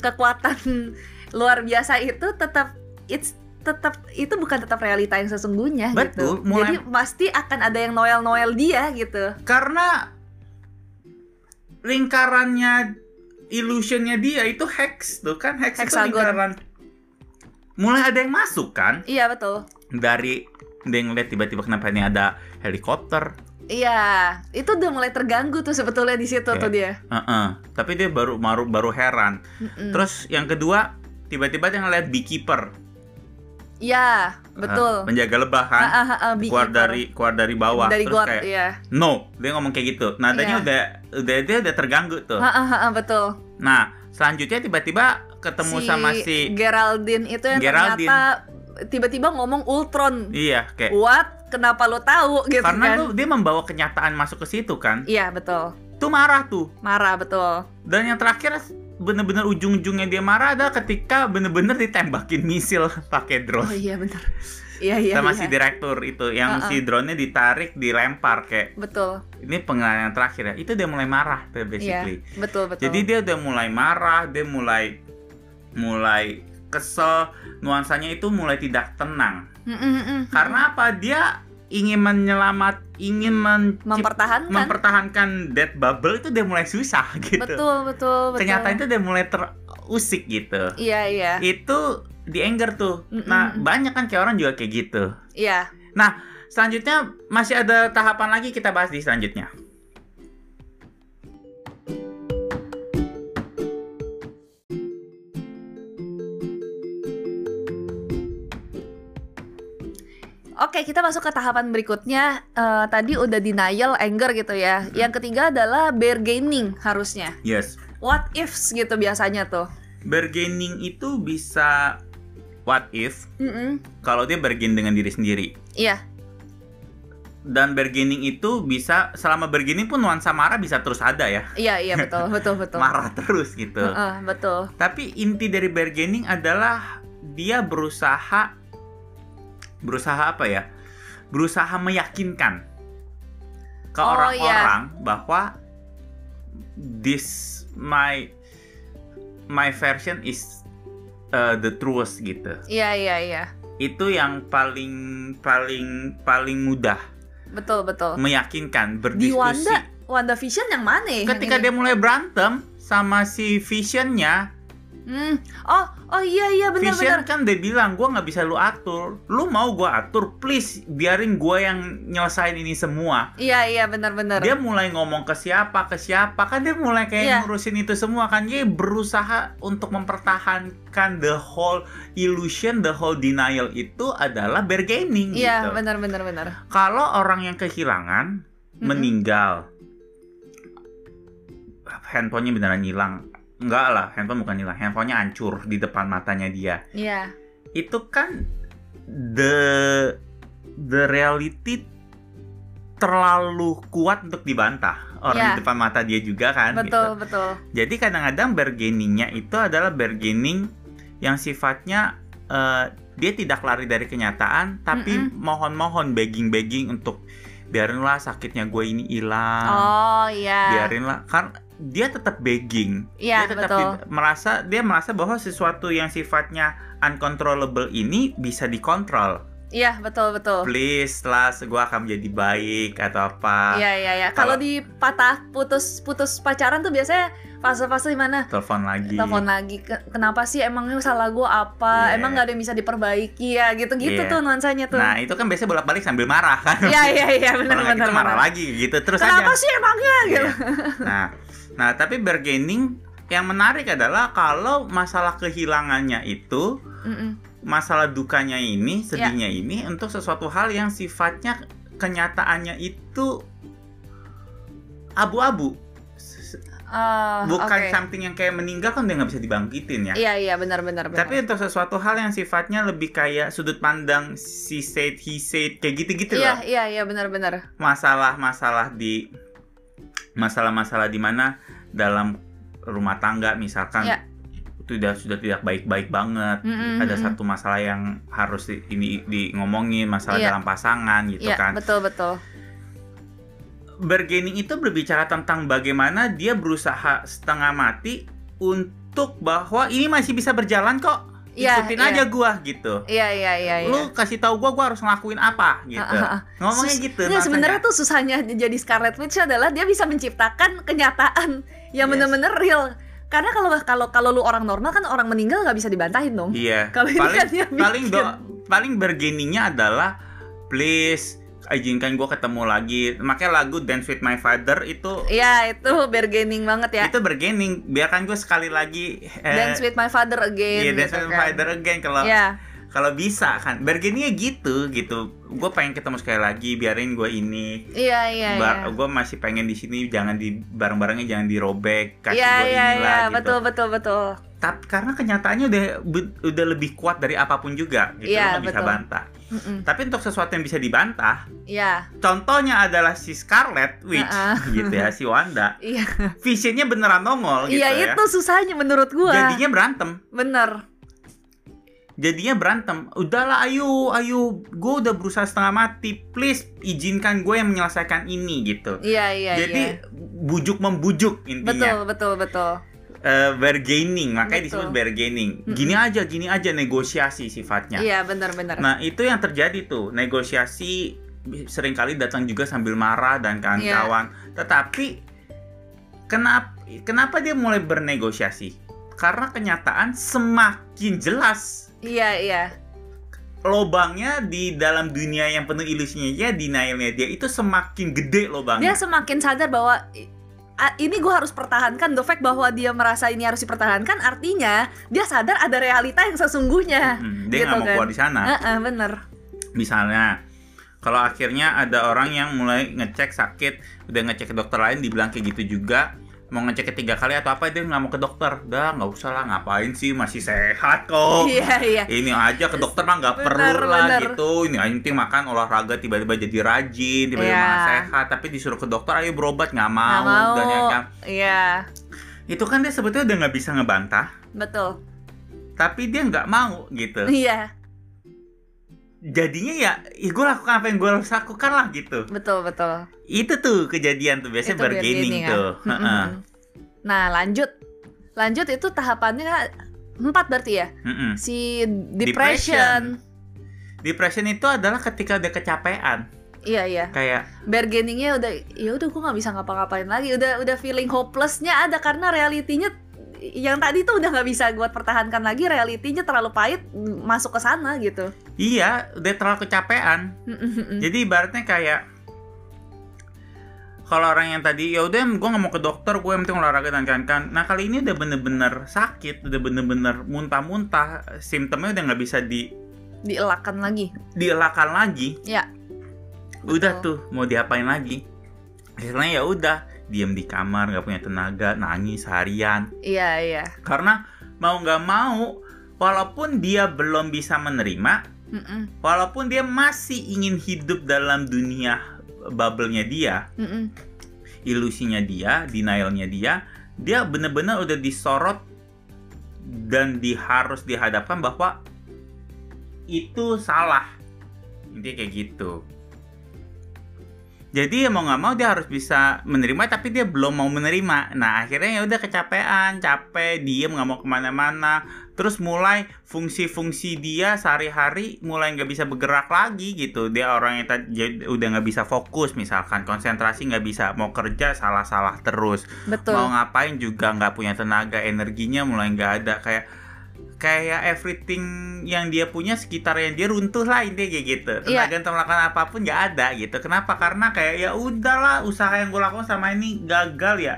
S1: kekuatan luar biasa itu tetap it's tetap itu bukan tetap realita yang sesungguhnya
S2: Betul,
S1: gitu. Jadi
S2: mulai-
S1: pasti akan ada yang noel-noel dia gitu.
S2: karena lingkarannya illusionnya dia itu hex tuh kan hex
S1: Hexagon.
S2: itu lingkaran. Mulai ada yang masuk kan
S1: Iya, betul.
S2: dari dia ngeliat tiba-tiba kenapa ini ada helikopter.
S1: Iya, itu udah mulai terganggu tuh sebetulnya di situ
S2: Iya.
S1: tuh dia.
S2: Heeh. Tapi dia baru baru baru heran.
S1: Mm-mm.
S2: Terus yang kedua tiba-tiba dia ngeliat beekeeper,
S1: Iya,
S2: Eh,
S1: betul.
S2: penjaga lebah kan.
S1: Ah, ah, ah, ah, beekeeper.
S2: keluar dari keluar dari bawah
S1: dari
S2: terus
S1: got,
S2: kayak
S1: iya.
S2: no dia ngomong kayak gitu
S1: Iya.
S2: nadanya udah udah dia udah terganggu tuh
S1: Ah, ah, ah, ah, betul.
S2: nah selanjutnya tiba-tiba ketemu sama si
S1: Geraldine itu yang
S2: Geraldine.
S1: ternyata tiba-tiba ngomong Ultron.
S2: iya kayak
S1: What? Kenapa lo tahu gitu
S2: karena
S1: kan?
S2: tuh dia membawa kenyataan masuk ke situ kan
S1: Iya betul,
S2: tuh marah tuh
S1: marah betul.
S2: dan yang terakhir bener-bener ujung-ujungnya dia marah adalah ketika bener-bener ditembakin misil pakai
S1: Oh
S2: drone
S1: iya benar. Iya iya.
S2: sama
S1: iya.
S2: si direktur itu yang
S1: Uh-uh.
S2: si drone-nya ditarik dilempar kayak
S1: Betul,
S2: ini pengalaman yang terakhir ya itu dia mulai marah tuh
S1: iya
S2: basically
S1: betul betul.
S2: Jadi dia udah mulai marah, dia mulai mulai kesel, nuansanya itu mulai tidak tenang.
S1: Mm, mm, mm, mm.
S2: Karena apa? Dia ingin menyelamat, ingin mencip-
S1: mempertahankan.
S2: mempertahankan dead bubble itu dia mulai susah gitu.
S1: Kan? Betul betul betul.
S2: Kenyataan itu dia mulai terusik gitu.
S1: Iya iya
S2: Itu di anger tuh.
S1: Mm-mm.
S2: Nah, banyak kan kayak orang juga kayak gitu.
S1: iya.
S2: Selanjutnya masih ada tahapan lagi kita bahas di selanjutnya.
S1: Oke kita masuk ke tahapan berikutnya. Eh, tadi udah denial, anger gitu ya. Yang ketiga adalah bargaining harusnya.
S2: Yes.
S1: What ifs gitu biasanya tuh.
S2: Bargaining itu bisa what if
S1: Mm-mm.
S2: kalau dia bargain dengan diri sendiri
S1: Mm, Iya
S2: dan bargaining itu bisa selama bargaining pun nuansa marah bisa terus ada ya
S1: iya iya betul betul betul.
S2: marah terus gitu
S1: Heeh, betul.
S2: tapi inti dari bargaining adalah dia berusaha berusaha apa ya berusaha meyakinkan ke
S1: Oh,
S2: orang-orang bahwa this my my version is uh, the truest gitu
S1: Iya iya iya
S2: itu yang paling paling paling mudah
S1: betul betul.
S2: meyakinkan
S1: Oh. Di
S2: berdiskusi.
S1: Wanda Wanda Vision yang mana? ya? Yang
S2: Ketika
S1: ini?
S2: dia mulai berantem sama si Visionnya,
S1: Hmm. Oh, oh iya iya
S2: Vision
S1: benar-benar.
S2: kan dia bilang gua nggak bisa lu atur, lu mau gua atur, please biarin gua yang nyelesain ini semua.
S1: Iya iya benar-benar.
S2: Dia mulai ngomong ke siapa ke siapa kan dia mulai kayak
S1: Iya.
S2: ngurusin itu semua kan dia berusaha untuk mempertahankan the whole illusion, the whole denial itu adalah bargaining
S1: Iya
S2: gitu.
S1: benar-benar benar.
S2: Kalau orang yang kehilangan
S1: Mm-mm.
S2: meninggal, handphonenya beneran hilang? Enggak lah, handphone bukan hilang, handphonenya hancur di depan matanya dia.
S1: Iya.
S2: Itu kan the the reality terlalu kuat untuk dibantah orang
S1: Ya.
S2: di depan mata dia juga kan. gitu.
S1: Betul betul.
S2: Jadi kadang-kadang bargainingnya itu adalah bargaining yang sifatnya eh, dia tidak lari dari kenyataan, tapi
S1: Mm-mm.
S2: mohon-mohon begging-begging untuk biarinlah sakitnya gue ini hilang,
S1: Oh iya.
S2: biarinlah karena dia tetap begging,
S1: Iya
S2: dia tetap
S1: betul.
S2: tidak- merasa dia merasa bahwa sesuatu yang sifatnya uncontrollable ini bisa dikontrol.
S1: Iya betul betul.
S2: please lah gue akan menjadi baik atau apa
S1: Iya iya iya. Kalau
S2: kalau-
S1: di patah putus putus pacaran tuh biasanya fase-fase di mana?
S2: telepon lagi
S1: Telepon lagi. "Ke- Kenapa sih emangnya salah gue apa?
S2: Iya.
S1: Emang nggak ada yang bisa diperbaiki ya gitu-gitu
S2: Iya.
S1: tuh nuansanya tuh.
S2: nah itu kan biasanya bolak balik sambil marah kan
S1: Iya iya iya benar
S2: Orang lagi
S1: benar.
S2: tuh marah
S1: benar.
S2: lagi gitu terus
S1: Kenapa
S2: aja
S1: sih emangnya gitu?
S2: Iya. nah nah tapi bargaining yang menarik adalah kalau masalah kehilangannya itu
S1: Mm-mm.
S2: masalah dukanya
S1: Ya.
S2: ini, sedihnya ini untuk sesuatu hal yang sifatnya kenyataannya itu abu-abu. S- s-
S1: Ah,
S2: Bukan
S1: oke.
S2: something yang kayak meninggal kan udah nggak bisa dibangkitin ya.
S1: Iya iya benar benar benar.
S2: Tapi untuk sesuatu hal yang sifatnya lebih kayak sudut pandang she said, he said, kayak gitu-gitu
S1: Iya
S2: loh.
S1: iya iya benar benar.
S2: Masalah-masalah di masalah-masalah di mana dalam rumah tangga misalkan
S1: Iya.
S2: sudah sudah tidak baik-baik banget
S1: Mm-mm,
S2: ada
S1: mm-mm.
S2: satu masalah yang harus di, ini di ngomongin masalah
S1: Iya.
S2: dalam pasangan
S1: Iya
S2: gitu kan.
S1: betul betul.
S2: Bargaining itu berbicara tentang bagaimana dia berusaha setengah mati untuk bahwa ini masih bisa berjalan kok.
S1: Iya,
S2: Ikutin
S1: iya.
S2: aja gua gitu.
S1: Iya iya iya. iya.
S2: Lu kasih tahu gua gua harus ngelakuin apa gitu.
S1: Ah, ah, ah.
S2: Ngomongnya
S1: Sus-
S2: gitu.
S1: Nggak,
S2: nuansanya.
S1: sebenarnya tuh susahnya jadi Scarlet Witch adalah dia bisa menciptakan kenyataan yang
S2: Yes.
S1: bener-bener real. Karena kalau kalau kalau lu orang normal kan orang meninggal nggak bisa dibantahin dong.
S2: Iya.
S1: Kalau ini
S2: paling
S1: kan dia
S2: paling
S1: bikin.
S2: do- paling bargainingnya adalah please izinkan gua ketemu lagi. Makanya lagu Dance with My Father itu
S1: Iya itu bargaining banget ya.
S2: itu bargaining biarkan gue sekali lagi eh,
S1: Dance with my father again.
S2: iya, dance
S1: gitu
S2: with
S1: kan.
S2: father again kalau
S1: Iya.
S2: kalau bisa kan bargainingnya gitu gitu gue pengen ketemu sekali lagi biarin gue ini
S1: Iya iya iya.
S2: gue masih pengen di sini jangan di barang-barangnya jangan dirobek kasih
S1: Iya
S2: gue
S1: iya
S2: inilah
S1: iya
S2: gitu
S1: betul betul betul.
S2: tapi karena kenyataannya udah be- udah lebih kuat dari apapun juga gitu
S1: Iya,
S2: lo nggak bisa
S1: betul.
S2: bantah
S1: Mm-mm.
S2: tapi untuk sesuatu yang bisa dibantah
S1: Iya
S2: contohnya adalah si Scarlet Witch
S1: Heeh.
S2: gitu ya si Wanda
S1: iya
S2: visionnya beneran nongol gitu
S1: iya
S2: ya
S1: itu susahnya menurut gua.
S2: jadinya berantem
S1: Bener.
S2: jadinya berantem udahlah ayo ayo gue udah berusaha setengah mati please izinkan gue yang menyelesaikan ini gitu
S1: Iya iya.
S2: jadi
S1: iya.
S2: bujuk membujuk
S1: betul
S2: intinya
S1: betul betul.
S2: Eh, bargaining
S1: Betul.
S2: makanya disebut bargaining
S1: Mm-mm.
S2: gini aja gini aja negosiasi sifatnya
S1: Iya bener bener.
S2: Ya. nah itu yang terjadi tuh negosiasi seringkali datang juga sambil marah
S1: Iya.
S2: dan kawan-kawan tetapi kenapa kenapa dia mulai bernegosiasi karena kenyataan semakin jelas
S1: Iya iya.
S2: lobangnya di dalam dunia yang penuh ilusinya ya denialnya dia itu semakin
S1: dia
S2: gede lobangnya
S1: semakin sadar bahwa "I- a- ini gue harus pertahankan the fact bahwa dia merasa ini harus dipertahankan artinya dia sadar ada realita yang sesungguhnya
S2: Hmm,
S1: gitu
S2: dia nggak mau
S1: kan.
S2: keluar di sana
S1: Heeh, bener
S2: misalnya kalau akhirnya ada orang yang mulai ngecek sakit udah ngecek ke dokter lain dibilang kayak gitu juga mau ngecek ketiga kali atau apa dia nggak mau ke dokter dah nggak usah lah ngapain sih masih sehat kok
S1: iya iya
S2: ini aja ke dokter mah nggak
S1: Bener,
S2: perlu lah
S1: bener.
S2: gitu ini yang penting makan olahraga tiba-tiba jadi rajin tiba-tiba
S1: Iya.
S2: malah sehat tapi disuruh ke dokter ayo berobat nggak
S1: nggak
S2: mau,
S1: mau
S2: dan yang- yang-
S1: iya
S2: itu kan dia sebetulnya udah nggak bisa ngebantah
S1: betul
S2: tapi dia nggak mau gitu
S1: iya
S2: jadinya ya, ya gue lakukan apa yang gue harus lakukan lah gitu
S1: betul betul
S2: itu tuh kejadian tuh
S1: Itu
S2: biasanya bargaining
S1: bargaining ya.
S2: tuh
S1: Mm-mm.
S2: Heeh.
S1: nah lanjut lanjut itu tahapannya kan empat berarti ya
S2: Mm-mm.
S1: si depression,
S2: depression itu adalah ketika udah kecapean
S1: iya iya
S2: kayak
S1: bargainingnya udah ya udah gue nggak bisa ngapa-ngapain lagi udah udah feeling hopelessnya ada karena realitinya yang tadi tuh udah nggak bisa gue pertahankan lagi realitinya terlalu pahit mm, masuk ke sana gitu
S2: iya udah terlalu kecapean jadi ibaratnya kayak kalau orang yang tadi ya udah gue nggak mau ke dokter gue yang penting olahraga dan kan kan nah kali ini udah bener-bener sakit udah bener-bener muntah-muntah simptomnya udah nggak bisa di
S1: dielakkan lagi
S2: dielakkan lagi.
S1: Ya.
S2: Udah
S1: Betul.
S2: tuh mau diapain lagi? Akhirnya ya udah diem di kamar nggak punya tenaga nangis harian
S1: iya iya
S2: karena mau nggak mau walaupun dia belum bisa menerima
S1: Mm-mm,
S2: walaupun dia masih ingin hidup dalam dunia bubble-nya dia
S1: mm-mm.
S2: ilusinya dia denialnya dia dia bener-bener udah disorot dan di, harus dihadapkan bahwa itu salah dia kayak gitu jadi ya mau nggak mau dia harus bisa menerima tapi dia belum mau menerima nah akhirnya ya udah kecapean capek diem nggak mau kemana-mana terus mulai fungsi-fungsi dia sehari-hari mulai nggak bisa bergerak lagi gitu dia orangnya tadi jadi- udah nggak bisa fokus misalkan konsentrasi nggak bisa mau kerja salah-salah terus
S1: betul
S2: mau ngapain juga nggak punya tenaga energinya mulai nggak ada kayak kayak everything yang dia punya sekitar yang dia runtuh lah intinya kayak gitu
S1: Iya.
S2: tenaga untuk melakukan apapun nggak ada gitu kenapa karena kayak ya udahlah usaha yang gue lakukan sama ini gagal ya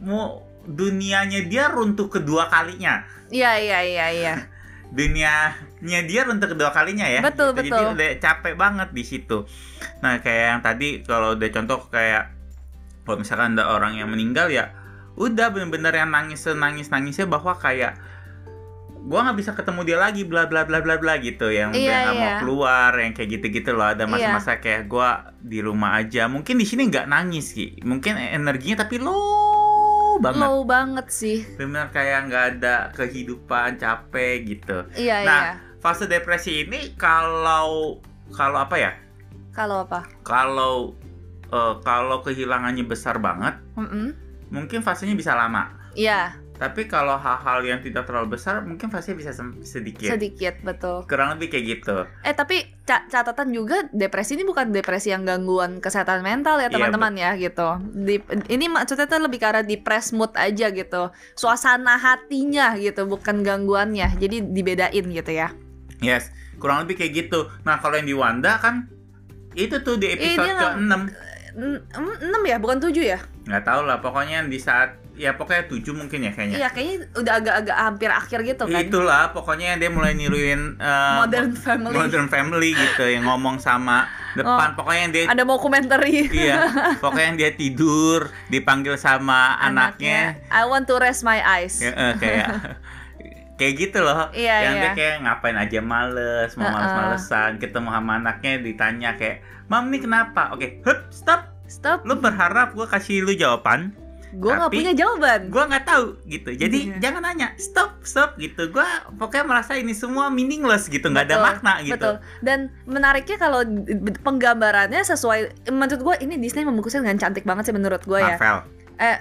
S2: mau dunianya dia runtuh kedua kalinya
S1: iya iya iya iya
S2: dunianya dia runtuh kedua kalinya ya
S1: Betul,
S2: gitu.
S1: betul.
S2: jadi udah capek banget di situ nah kayak yang tadi kalau udah contoh kayak kalau misalkan ada orang yang meninggal ya udah bener-bener yang nangis nangis nangisnya bahwa kayak gua nggak bisa ketemu dia lagi bla bla bla bla bla gitu yang udah
S1: Iya,
S2: nggak mau
S1: iya.
S2: keluar yang kayak gitu gitu loh ada
S1: Iya.
S2: masa-masa kayak gua di rumah aja mungkin di sini nggak nangis ki mungkin energinya tapi low banget
S1: low banget sih
S2: bener kayak nggak ada kehidupan capek gitu
S1: iya
S2: Nah,
S1: iya
S2: fase depresi ini kalau kalau apa ya
S1: kalau apa
S2: kalau eh, kalau kehilangannya besar banget
S1: Mm-mm.
S2: mungkin fasenya bisa lama
S1: iya
S2: tapi kalau hal-hal yang tidak terlalu besar mungkin fasenya bisa sem- sedikit
S1: sedikit betul
S2: kurang lebih kayak gitu
S1: eh tapi ca- catatan juga depresi ini bukan depresi yang gangguan kesehatan mental ya
S2: Iya,
S1: teman-teman ya gitu Di- ini maksudnya tuh lebih ke arah depress mood aja gitu suasana hatinya gitu bukan gangguannya jadi dibedain gitu ya
S2: yes kurang lebih kayak gitu nah kalau yang di Wanda kan itu tuh di
S1: Iya,
S2: episode
S1: dia
S2: ke
S1: nggak-
S2: 6
S1: En- em- enam ya bukan tujuh ya
S2: nggak tahu lah pokoknya di saat ya pokoknya 7 mungkin ya kayaknya
S1: iya kayaknya udah agak-agak hampir akhir gitu kan
S2: itulah pokoknya dia mulai niruin eh,
S1: modern family Oh,
S2: Modern Family gitu yang ngomong sama depan pokoknya yang dia
S1: ada mau komentari
S2: iya pokoknya yang dia tidur dipanggil sama anaknya,
S1: I want to rest my eyes
S2: Ya, eh, kayak kayak gitu loh
S1: Iya,
S2: yang
S1: iya.
S2: dia kayak ngapain aja males mau
S1: Heeh.
S2: males-malesan ketemu sama anaknya ditanya kayak mam nih kenapa oke hup stop
S1: stop
S2: lu berharap gua kasih lu jawaban
S1: gue nggak
S2: Tapi-
S1: punya jawaban
S2: gua nggak tahu gitu jadi
S1: Iya.
S2: jangan nanya stop stop gitu gua pokoknya merasa ini semua meaningless gitu nggak ada
S1: Betul,
S2: makna gitu
S1: Betul. Dan menariknya kalau d- d- penggambarannya sesuai menurut gue ini Disney membungkusnya dengan cantik banget sih menurut gue ya.
S2: Marvel
S1: Eh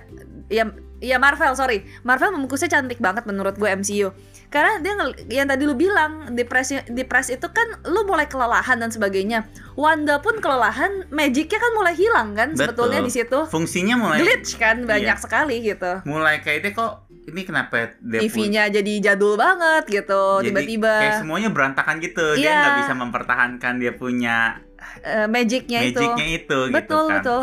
S1: ya ya Marvel, sorry. Marvel membungkusnya cantik banget menurut gue MCU. Karena dia ngel- yang tadi lu bilang depresi depres itu kan lu mulai kelelahan dan sebagainya. Wanda pun kelelahan, magicnya kan mulai hilang kan
S2: Betul.
S1: sebetulnya di situ.
S2: fungsinya mulai Iya.
S1: Glitch kan banyak sekali gitu.
S2: mulai kayak dia kok ini kenapa dia punya-
S1: TV-nya jadi jadul banget gitu
S2: Jadi
S1: tiba-tiba.
S2: kayak semuanya berantakan gitu dia
S1: Iya.
S2: nggak bisa mempertahankan dia punya
S1: eh, magicnya itu.
S2: magicnya itu, gitu
S1: betul,
S2: kan
S1: betul.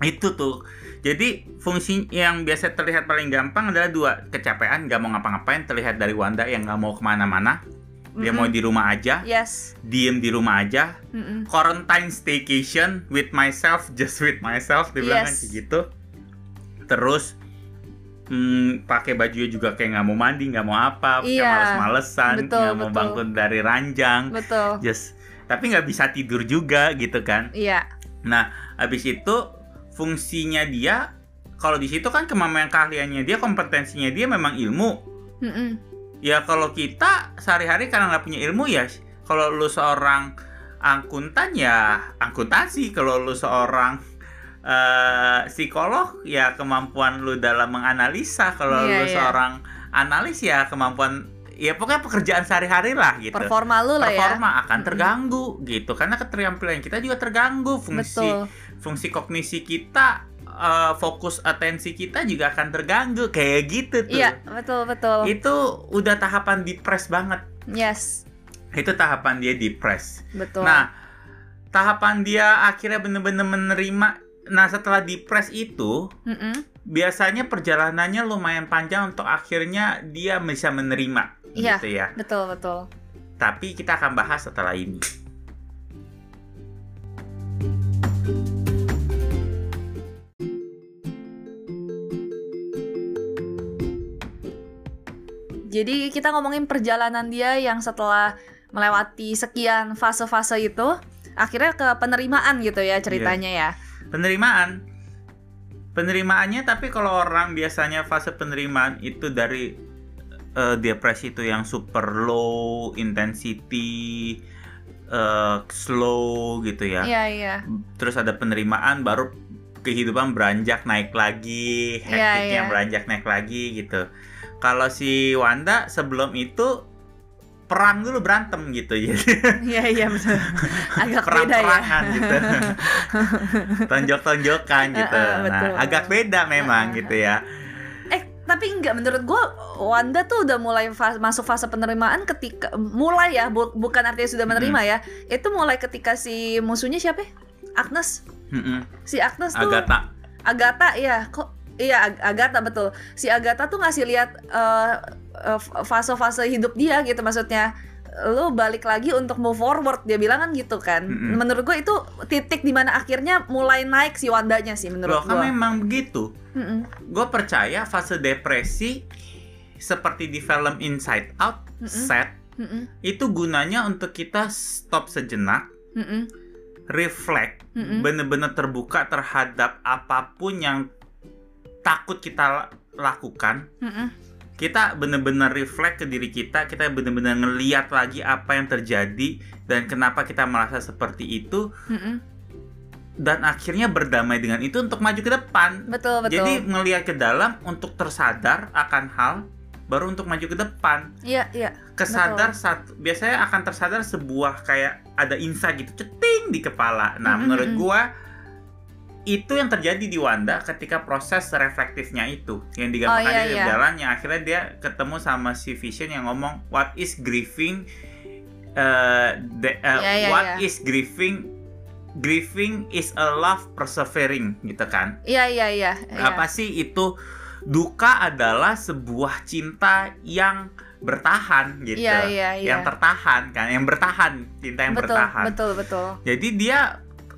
S2: itu tuh jadi fungsi yang biasa terlihat paling gampang adalah dua kecapean nggak mau ngapa-ngapain terlihat dari Wanda yang nggak mau kemana-mana dia
S1: Mm-mm.
S2: mau di rumah aja
S1: Yes.
S2: diem di rumah aja
S1: Mm-mm.
S2: quarantine staycation with myself just with myself dia bilang kan
S1: Yes.
S2: kayak gitu terus hmm, pakai bajunya juga kayak nggak mau mandi nggak mau apa kayak
S1: Iya.
S2: males-malesan
S1: Betul,
S2: nggak mau
S1: betul.
S2: bangun dari ranjang
S1: Betul.
S2: just tapi nggak bisa tidur juga gitu kan
S1: Iya.
S2: habis itu fungsinya dia kalau di situ kan kemampuan keahliannya dia kompetensinya dia memang ilmu
S1: Mm-mm.
S2: ya kalau kita sehari-hari karena nggak punya ilmu ya kalau lu seorang angkutan ya angkutansi kalau lu seorang eh, psikolog ya kemampuan lu dalam menganalisa kalau
S1: Iya,
S2: lu
S1: iya.
S2: seorang analis ya kemampuan ya pokoknya pekerjaan sehari-hari lah gitu
S1: Performa lu lah ya.
S2: performa akan
S1: Mm-mm.
S2: terganggu gitu karena keterampilan kita juga terganggu fungsi
S1: Betul.
S2: fungsi kognisi kita eh, fokus atensi kita juga akan terganggu kayak gitu tuh
S1: Iya, betul betul.
S2: itu udah tahapan depres banget
S1: Yes,
S2: itu tahapan dia depres
S1: betul.
S2: nah tahapan dia akhirnya bener-bener menerima nah setelah depres itu
S1: Mm-mm.
S2: biasanya perjalanannya lumayan panjang untuk akhirnya dia bisa menerima
S1: Iya.
S2: gitu ya
S1: Betul betul.
S2: tapi kita akan bahas setelah ini
S1: Jadi kita ngomongin perjalanan dia yang setelah melewati sekian fase-fase itu akhirnya ke penerimaan gitu ya ceritanya
S2: Iya.
S1: ya.
S2: penerimaan penerimaannya tapi kalau orang biasanya fase penerimaan itu dari eh, depresi itu yang super low intensity eh, slow gitu ya
S1: Iya, iya.
S2: terus ada penerimaan baru kehidupan beranjak naik lagi
S1: Iya,
S2: hektiknya
S1: iya.
S2: beranjak naik lagi gitu Kalau si Wanda sebelum itu perang dulu berantem gitu jadi
S1: Iya iya betul. Agak beda ya.
S2: perang-perangan gitu tonjok-tonjokan gitu
S1: Eh, eh, betul.
S2: nah agak beda
S1: Eh,
S2: memang
S1: eh,
S2: gitu ya
S1: Eh tapi enggak menurut gua Wanda tuh udah mulai fa- masuk fase penerimaan ketika mulai ya bu- bukan artinya sudah menerima ya. Itu mulai ketika si musuhnya siapa? ya? Agnes.
S2: Mm-mm.
S1: Si Agnes tuh
S2: agak tak
S1: Agatha ya kok iya Ag- Agatha betul si Agatha tuh ngasih lihat eh, eh, fase-fase hidup dia gitu maksudnya lo balik lagi untuk move forward dia bilang kan gitu kan
S2: Mm-mm.
S1: menurut gue itu titik dimana akhirnya mulai naik si Wandanya sih
S2: loh
S1: menurut
S2: kan
S1: gue
S2: memang begitu gue percaya fase depresi seperti di film Inside Out
S1: Mm-mm.
S2: set itu gunanya untuk kita stop sejenak reflect
S1: Mm-mm.
S2: bener-bener terbuka terhadap apapun yang takut kita la- lakukan kita bener-bener reflect ke diri kita kita bener-bener ngeliat lagi apa yang terjadi dan kenapa kita merasa seperti itu dan akhirnya berdamai dengan itu untuk maju ke depan
S1: betul betul
S2: jadi ngeliat ke dalam untuk tersadar akan hal baru untuk maju ke depan
S1: iya iya
S2: kesadar satu biasanya akan tersadar sebuah kayak ada insight gitu ceting di kepala nah
S1: Mm-mm,
S2: menurut
S1: mm-mm.
S2: gua itu yang terjadi di Wanda ketika proses reflektifnya itu yang digambarkan
S1: iya,
S2: dia
S1: iya.
S2: jalannya akhirnya dia ketemu sama si Vision yang ngomong what is grieving eh, the- eh,
S1: Iya, iya,
S2: what
S1: iya.
S2: is grieving grieving is a love persevering gitu kan
S1: iya iya iya iya.
S2: apa sih itu duka adalah sebuah cinta yang bertahan gitu
S1: iya iya iya
S2: yang tertahan kan yang bertahan cinta yang
S1: betul
S2: bertahan
S1: betul betul
S2: jadi dia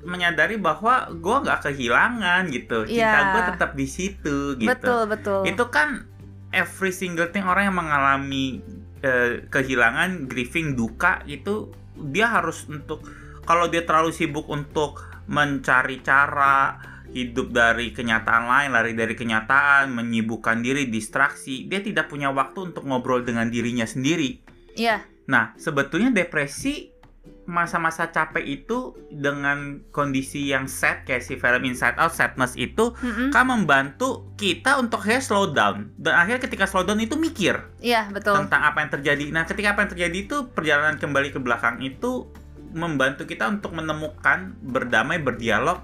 S2: menyadari bahwa gue nggak kehilangan gitu cinta
S1: Iya.
S2: gue tetap di situ gitu
S1: betul betul
S2: itu kan every single thing orang yang mengalami eh, kehilangan grieving duka itu dia harus untuk kalau dia terlalu sibuk untuk mencari cara hidup dari kenyataan lain lari dari kenyataan menyibukkan diri distraksi dia tidak punya waktu untuk ngobrol dengan dirinya sendiri
S1: iya
S2: Nah, sebetulnya depresi masa-masa capek itu dengan kondisi yang sad kayak si film Inside Out Sadness itu
S1: Mm-mm.
S2: kan membantu kita untuk akhirnya slow down dan akhirnya ketika slow down itu mikir
S1: iya betul
S2: tentang apa yang terjadi. Nah, ketika apa yang terjadi itu perjalanan kembali ke belakang itu membantu kita untuk menemukan berdamai, berdialog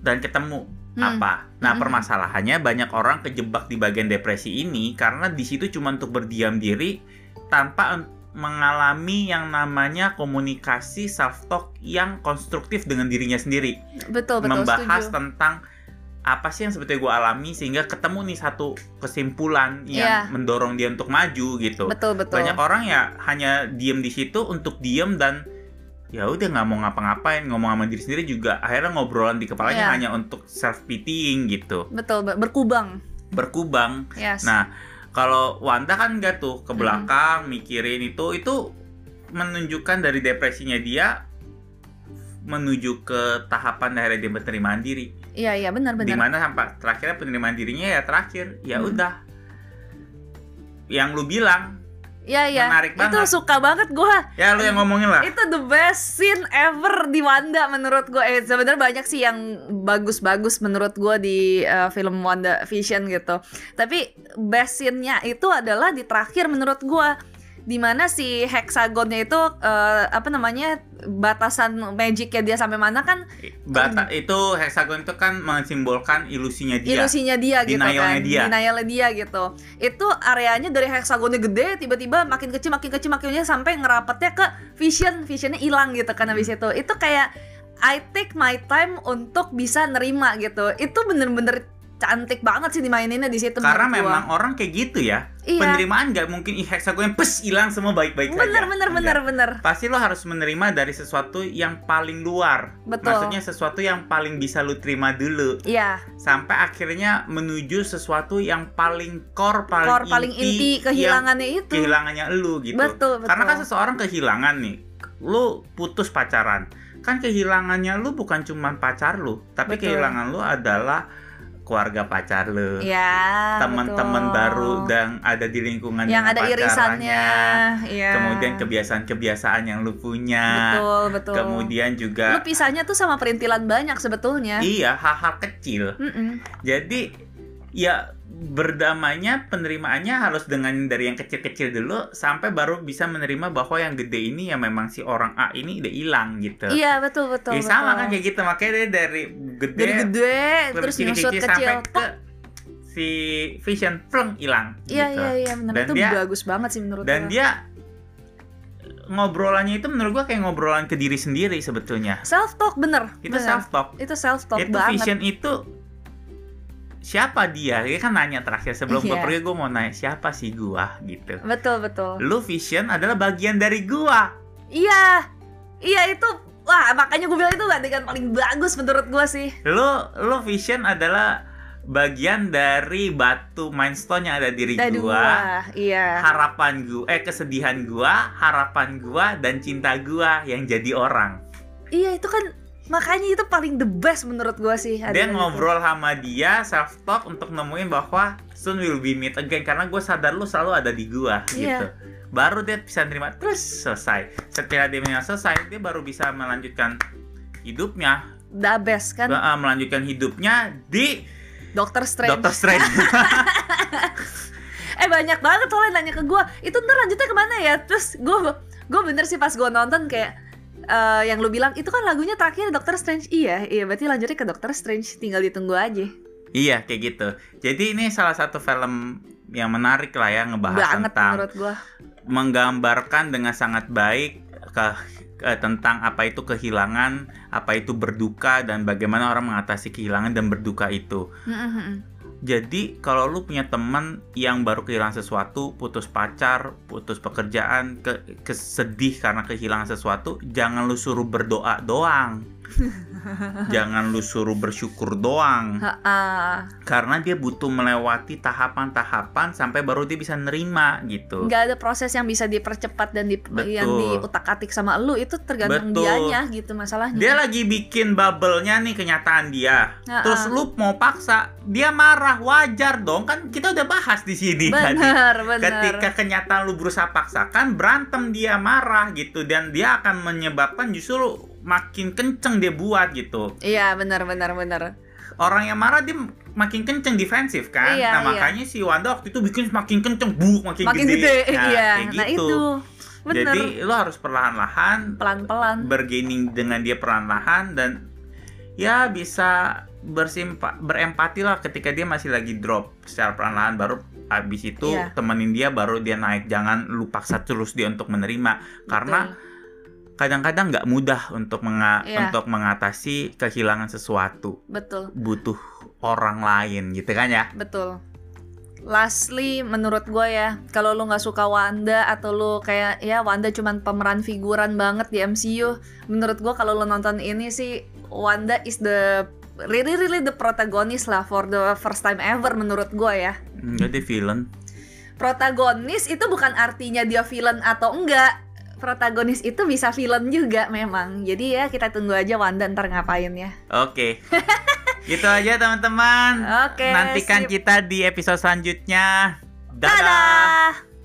S2: dan ketemu
S1: Hmm.
S2: apa. Nah,
S1: Mm-mm.
S2: permasalahannya banyak orang kejebak di bagian depresi ini karena di situ cuma untuk berdiam diri tanpa en- mengalami yang namanya komunikasi self talk yang konstruktif dengan dirinya sendiri.
S1: betul Oh, betul
S2: Membahas
S1: setuju.
S2: tentang apa sih yang sebetulnya gue alami sehingga ketemu nih satu kesimpulan yang
S1: Iya.
S2: mendorong dia untuk maju gitu.
S1: betul betul
S2: Banyak orang ya hanya diem di situ untuk diem dan ya udah nggak mau ngapa-ngapain ngomong sama diri sendiri juga akhirnya ngobrolan di kepalanya
S1: Iya.
S2: hanya untuk self pitying gitu
S1: betul be- berkubang
S2: berkubang
S1: yes
S2: Nah, kalau Wanda kan nggak
S1: Hmm.
S2: tuh ke belakang mikirin itu itu menunjukkan dari depresinya dia menuju ke tahapan dari dia penerimaan diri
S1: iya iya benar benar
S2: dimana sampai terakhirnya penerimaan dirinya ya terakhir ya
S1: Hmm.
S2: udah yang lu bilang
S1: iya iya
S2: menarik
S1: itu
S2: banget.
S1: suka banget gua
S2: ya lu yang ngomongin lah
S1: itu the best scene ever di Wanda menurut gua eh sebenarnya banyak sih yang bagus-bagus menurut gua di eh, film Wanda Vision gitu tapi best scene-nya itu adalah di terakhir menurut gua dimana si hexagonnya itu eh, apa namanya batasan magicnya dia sampai mana kan
S2: Bata,
S1: Iya.
S2: itu hexagon itu kan mensimbolkan ilusinya dia
S1: ilusinya dia gitu
S2: Iya.
S1: kan
S2: Denialnya dia.
S1: denialnya dia gitu itu areanya dari heksagonnya gede tiba-tiba makin kecil makin kecil makinnya sampai ngerapetnya ke vision visionnya hilang gitu kan habis itu itu kayak I take my time untuk bisa nerima gitu itu bener-bener cantik banget sih dimaininnya di situ
S2: karena
S1: menurut gua.
S2: memang orang kayak gitu ya
S1: iya
S2: penerimaan nggak mungkin ih, hexagon yang pes hilang semua baik-baik saja
S1: bener bener
S2: Nggak.
S1: bener bener
S2: pasti lo harus menerima dari sesuatu yang paling luar.
S1: betul
S2: Maksudnya sesuatu yang paling bisa lo terima dulu
S1: iya
S2: sampai akhirnya menuju sesuatu yang paling core paling
S1: core
S2: inti,
S1: paling inti
S2: yang
S1: kehilangannya itu
S2: kehilangannya lo gitu.
S1: betul betul
S2: Karena kan seseorang kehilangan nih, lo putus pacaran, kan kehilangannya lo bukan cuma pacar lo, tapi
S1: Betul.
S2: kehilangan lo adalah keluarga pacar lo,
S1: ya
S2: teman-teman
S1: betul.
S2: baru dan ada di lingkungan
S1: yang
S2: dengan
S1: ada
S2: pacarannya.
S1: irisannya iya
S2: kemudian kebiasaan-kebiasaan yang lu punya,
S1: betul betul
S2: kemudian Iya.
S1: lu
S2: juga
S1: pisahnya tuh sama perintilan banyak sebetulnya
S2: iya hal-hal kecil.
S1: Mm-mm.
S2: Jadi ya berdamainya penerimaannya harus dengan dari yang kecil-kecil dulu sampai baru bisa menerima bahwa yang gede ini ya memang si orang A ini udah hilang gitu.
S1: Iya betul betul.
S2: Ya,
S1: betul.
S2: sama kan kayak gitu makanya dia dari gede,
S1: Dari gede
S2: ke gitu.
S1: terus
S2: kecil-kecil
S1: nyusut kecil.
S2: sampai
S1: Tok.
S2: ke si Vision pleng hilang.
S1: Iya
S2: gitu.
S1: iya iya benar
S2: Dan
S1: itu
S2: dia-
S1: bagus banget sih menurut
S2: Dan
S1: gue.
S2: dia ngobrolannya itu menurut gua kayak ngobrolan ke diri sendiri sebetulnya.
S1: Self talk bener.
S2: Itu
S1: bener.
S2: self talk.
S1: Itu self talk
S2: itu
S1: banget.
S2: vision itu siapa dia dia kan nanya terakhir sebelum gue
S1: Iya.
S2: pergi gue mau nanya siapa sih gua gitu
S1: Betul betul.
S2: lu vision adalah bagian dari gua
S1: Iya. Iya itu wah makanya gue bilang itu adegan paling bagus menurut gue sih.
S2: lu lu vision adalah bagian dari batu mindstone yang ada di diri
S1: Dari
S2: gua
S1: gua. Iya.
S2: harapan gua eh kesedihan gua harapan gua dan cinta gua yang jadi orang
S1: Iya itu kan makanya itu paling the best menurut gue sih.
S2: dia
S1: adegan itu.
S2: ngobrol sama dia self talk untuk nemuin bahwa soon will be meet again karena gue sadar lu selalu ada di gua
S1: Iya.
S2: gitu baru dia bisa nerima terus selesai setelah dia menerima selesai dia baru bisa melanjutkan hidupnya
S1: The best kan
S2: eh, melanjutkan hidupnya di
S1: Dokter Strange.
S2: Doctor Strange
S1: Eh banyak banget soalnya nanya ke gue Itu ntar lanjutnya kemana ya Terus gue gue bener sih pas gue nonton kayak eh, Yang lu bilang itu kan lagunya terakhir Doctor Strange Iya iya berarti lanjutnya ke Doctor Strange Tinggal ditunggu aja
S2: iya kayak gitu jadi ini salah satu film yang menarik lah ya ngebahas
S1: Banget
S2: tentang
S1: menurut gue
S2: menggambarkan dengan sangat baik ke- ke- tentang apa itu kehilangan, apa itu berduka dan bagaimana orang mengatasi kehilangan dan berduka itu. Jadi kalau lu punya teman yang baru kehilangan sesuatu, putus pacar, putus pekerjaan, ke kesedih karena kehilangan sesuatu, jangan lu suruh berdoa doang. jangan lu suruh bersyukur doang karena dia butuh melewati tahapan-tahapan sampai baru dia bisa nerima gitu.
S1: Nggak ada proses yang bisa dipercepat Dan di,
S2: Betul.
S1: yang diutak-atik sama lu Itu tergantung
S2: Betul.
S1: dianya gitu masalahnya
S2: Dia lagi bikin bubble-nya nih kenyataan dia.
S1: Ha-ha.
S2: Terus lu mau paksa, dia marah wajar dong kan kita udah bahas di sini tadi.
S1: Bener bener
S2: Ketika kenyataan lu berusaha paksakan, berantem dia marah gitu dan dia akan menyebabkan justru makin kenceng dia buat gitu.
S1: Iya bener bener bener
S2: Orang yang marah dia makin kenceng defensif kan.
S1: Iya,
S2: nah
S1: iya.
S2: makanya si Wanda waktu itu bikin makin kenceng, bu makin,
S1: Makin gede,
S2: Nah,
S1: Iya
S2: kayak
S1: Nah
S2: gitu.
S1: itu Bener
S2: Jadi lu harus perlahan-lahan
S1: Pelan-pelan
S2: bergaining dengan dia perlahan dan ya bisa bersimpa berempati lah ketika dia masih lagi drop secara perlahan baru habis itu
S1: Iya.
S2: temenin dia baru dia naik jangan lu paksa terus dia untuk menerima karena
S1: Betul.
S2: kadang-kadang nggak mudah untuk menga-
S1: Iya.
S2: untuk mengatasi kehilangan sesuatu
S1: Betul
S2: butuh orang lain gitu kan ya
S1: Betul. Lastly, menurut gue ya, kalau lu nggak suka Wanda atau lu kayak ya Wanda cuman pemeran figuran banget di MCU, menurut gue kalau lu nonton ini sih Wanda is the really really the protagonis lah for the first time ever menurut gue ya.
S2: Hmm, jadi villain
S1: Protagonis itu bukan artinya dia villain atau enggak. Protagonis itu bisa villain juga memang. Jadi ya kita tunggu aja Wanda ntar ngapain ya.
S2: Oke. gitu aja teman-teman.
S1: Oke,
S2: Nantikan
S1: sip.
S2: kita di episode selanjutnya. Dadah.
S1: Dadah!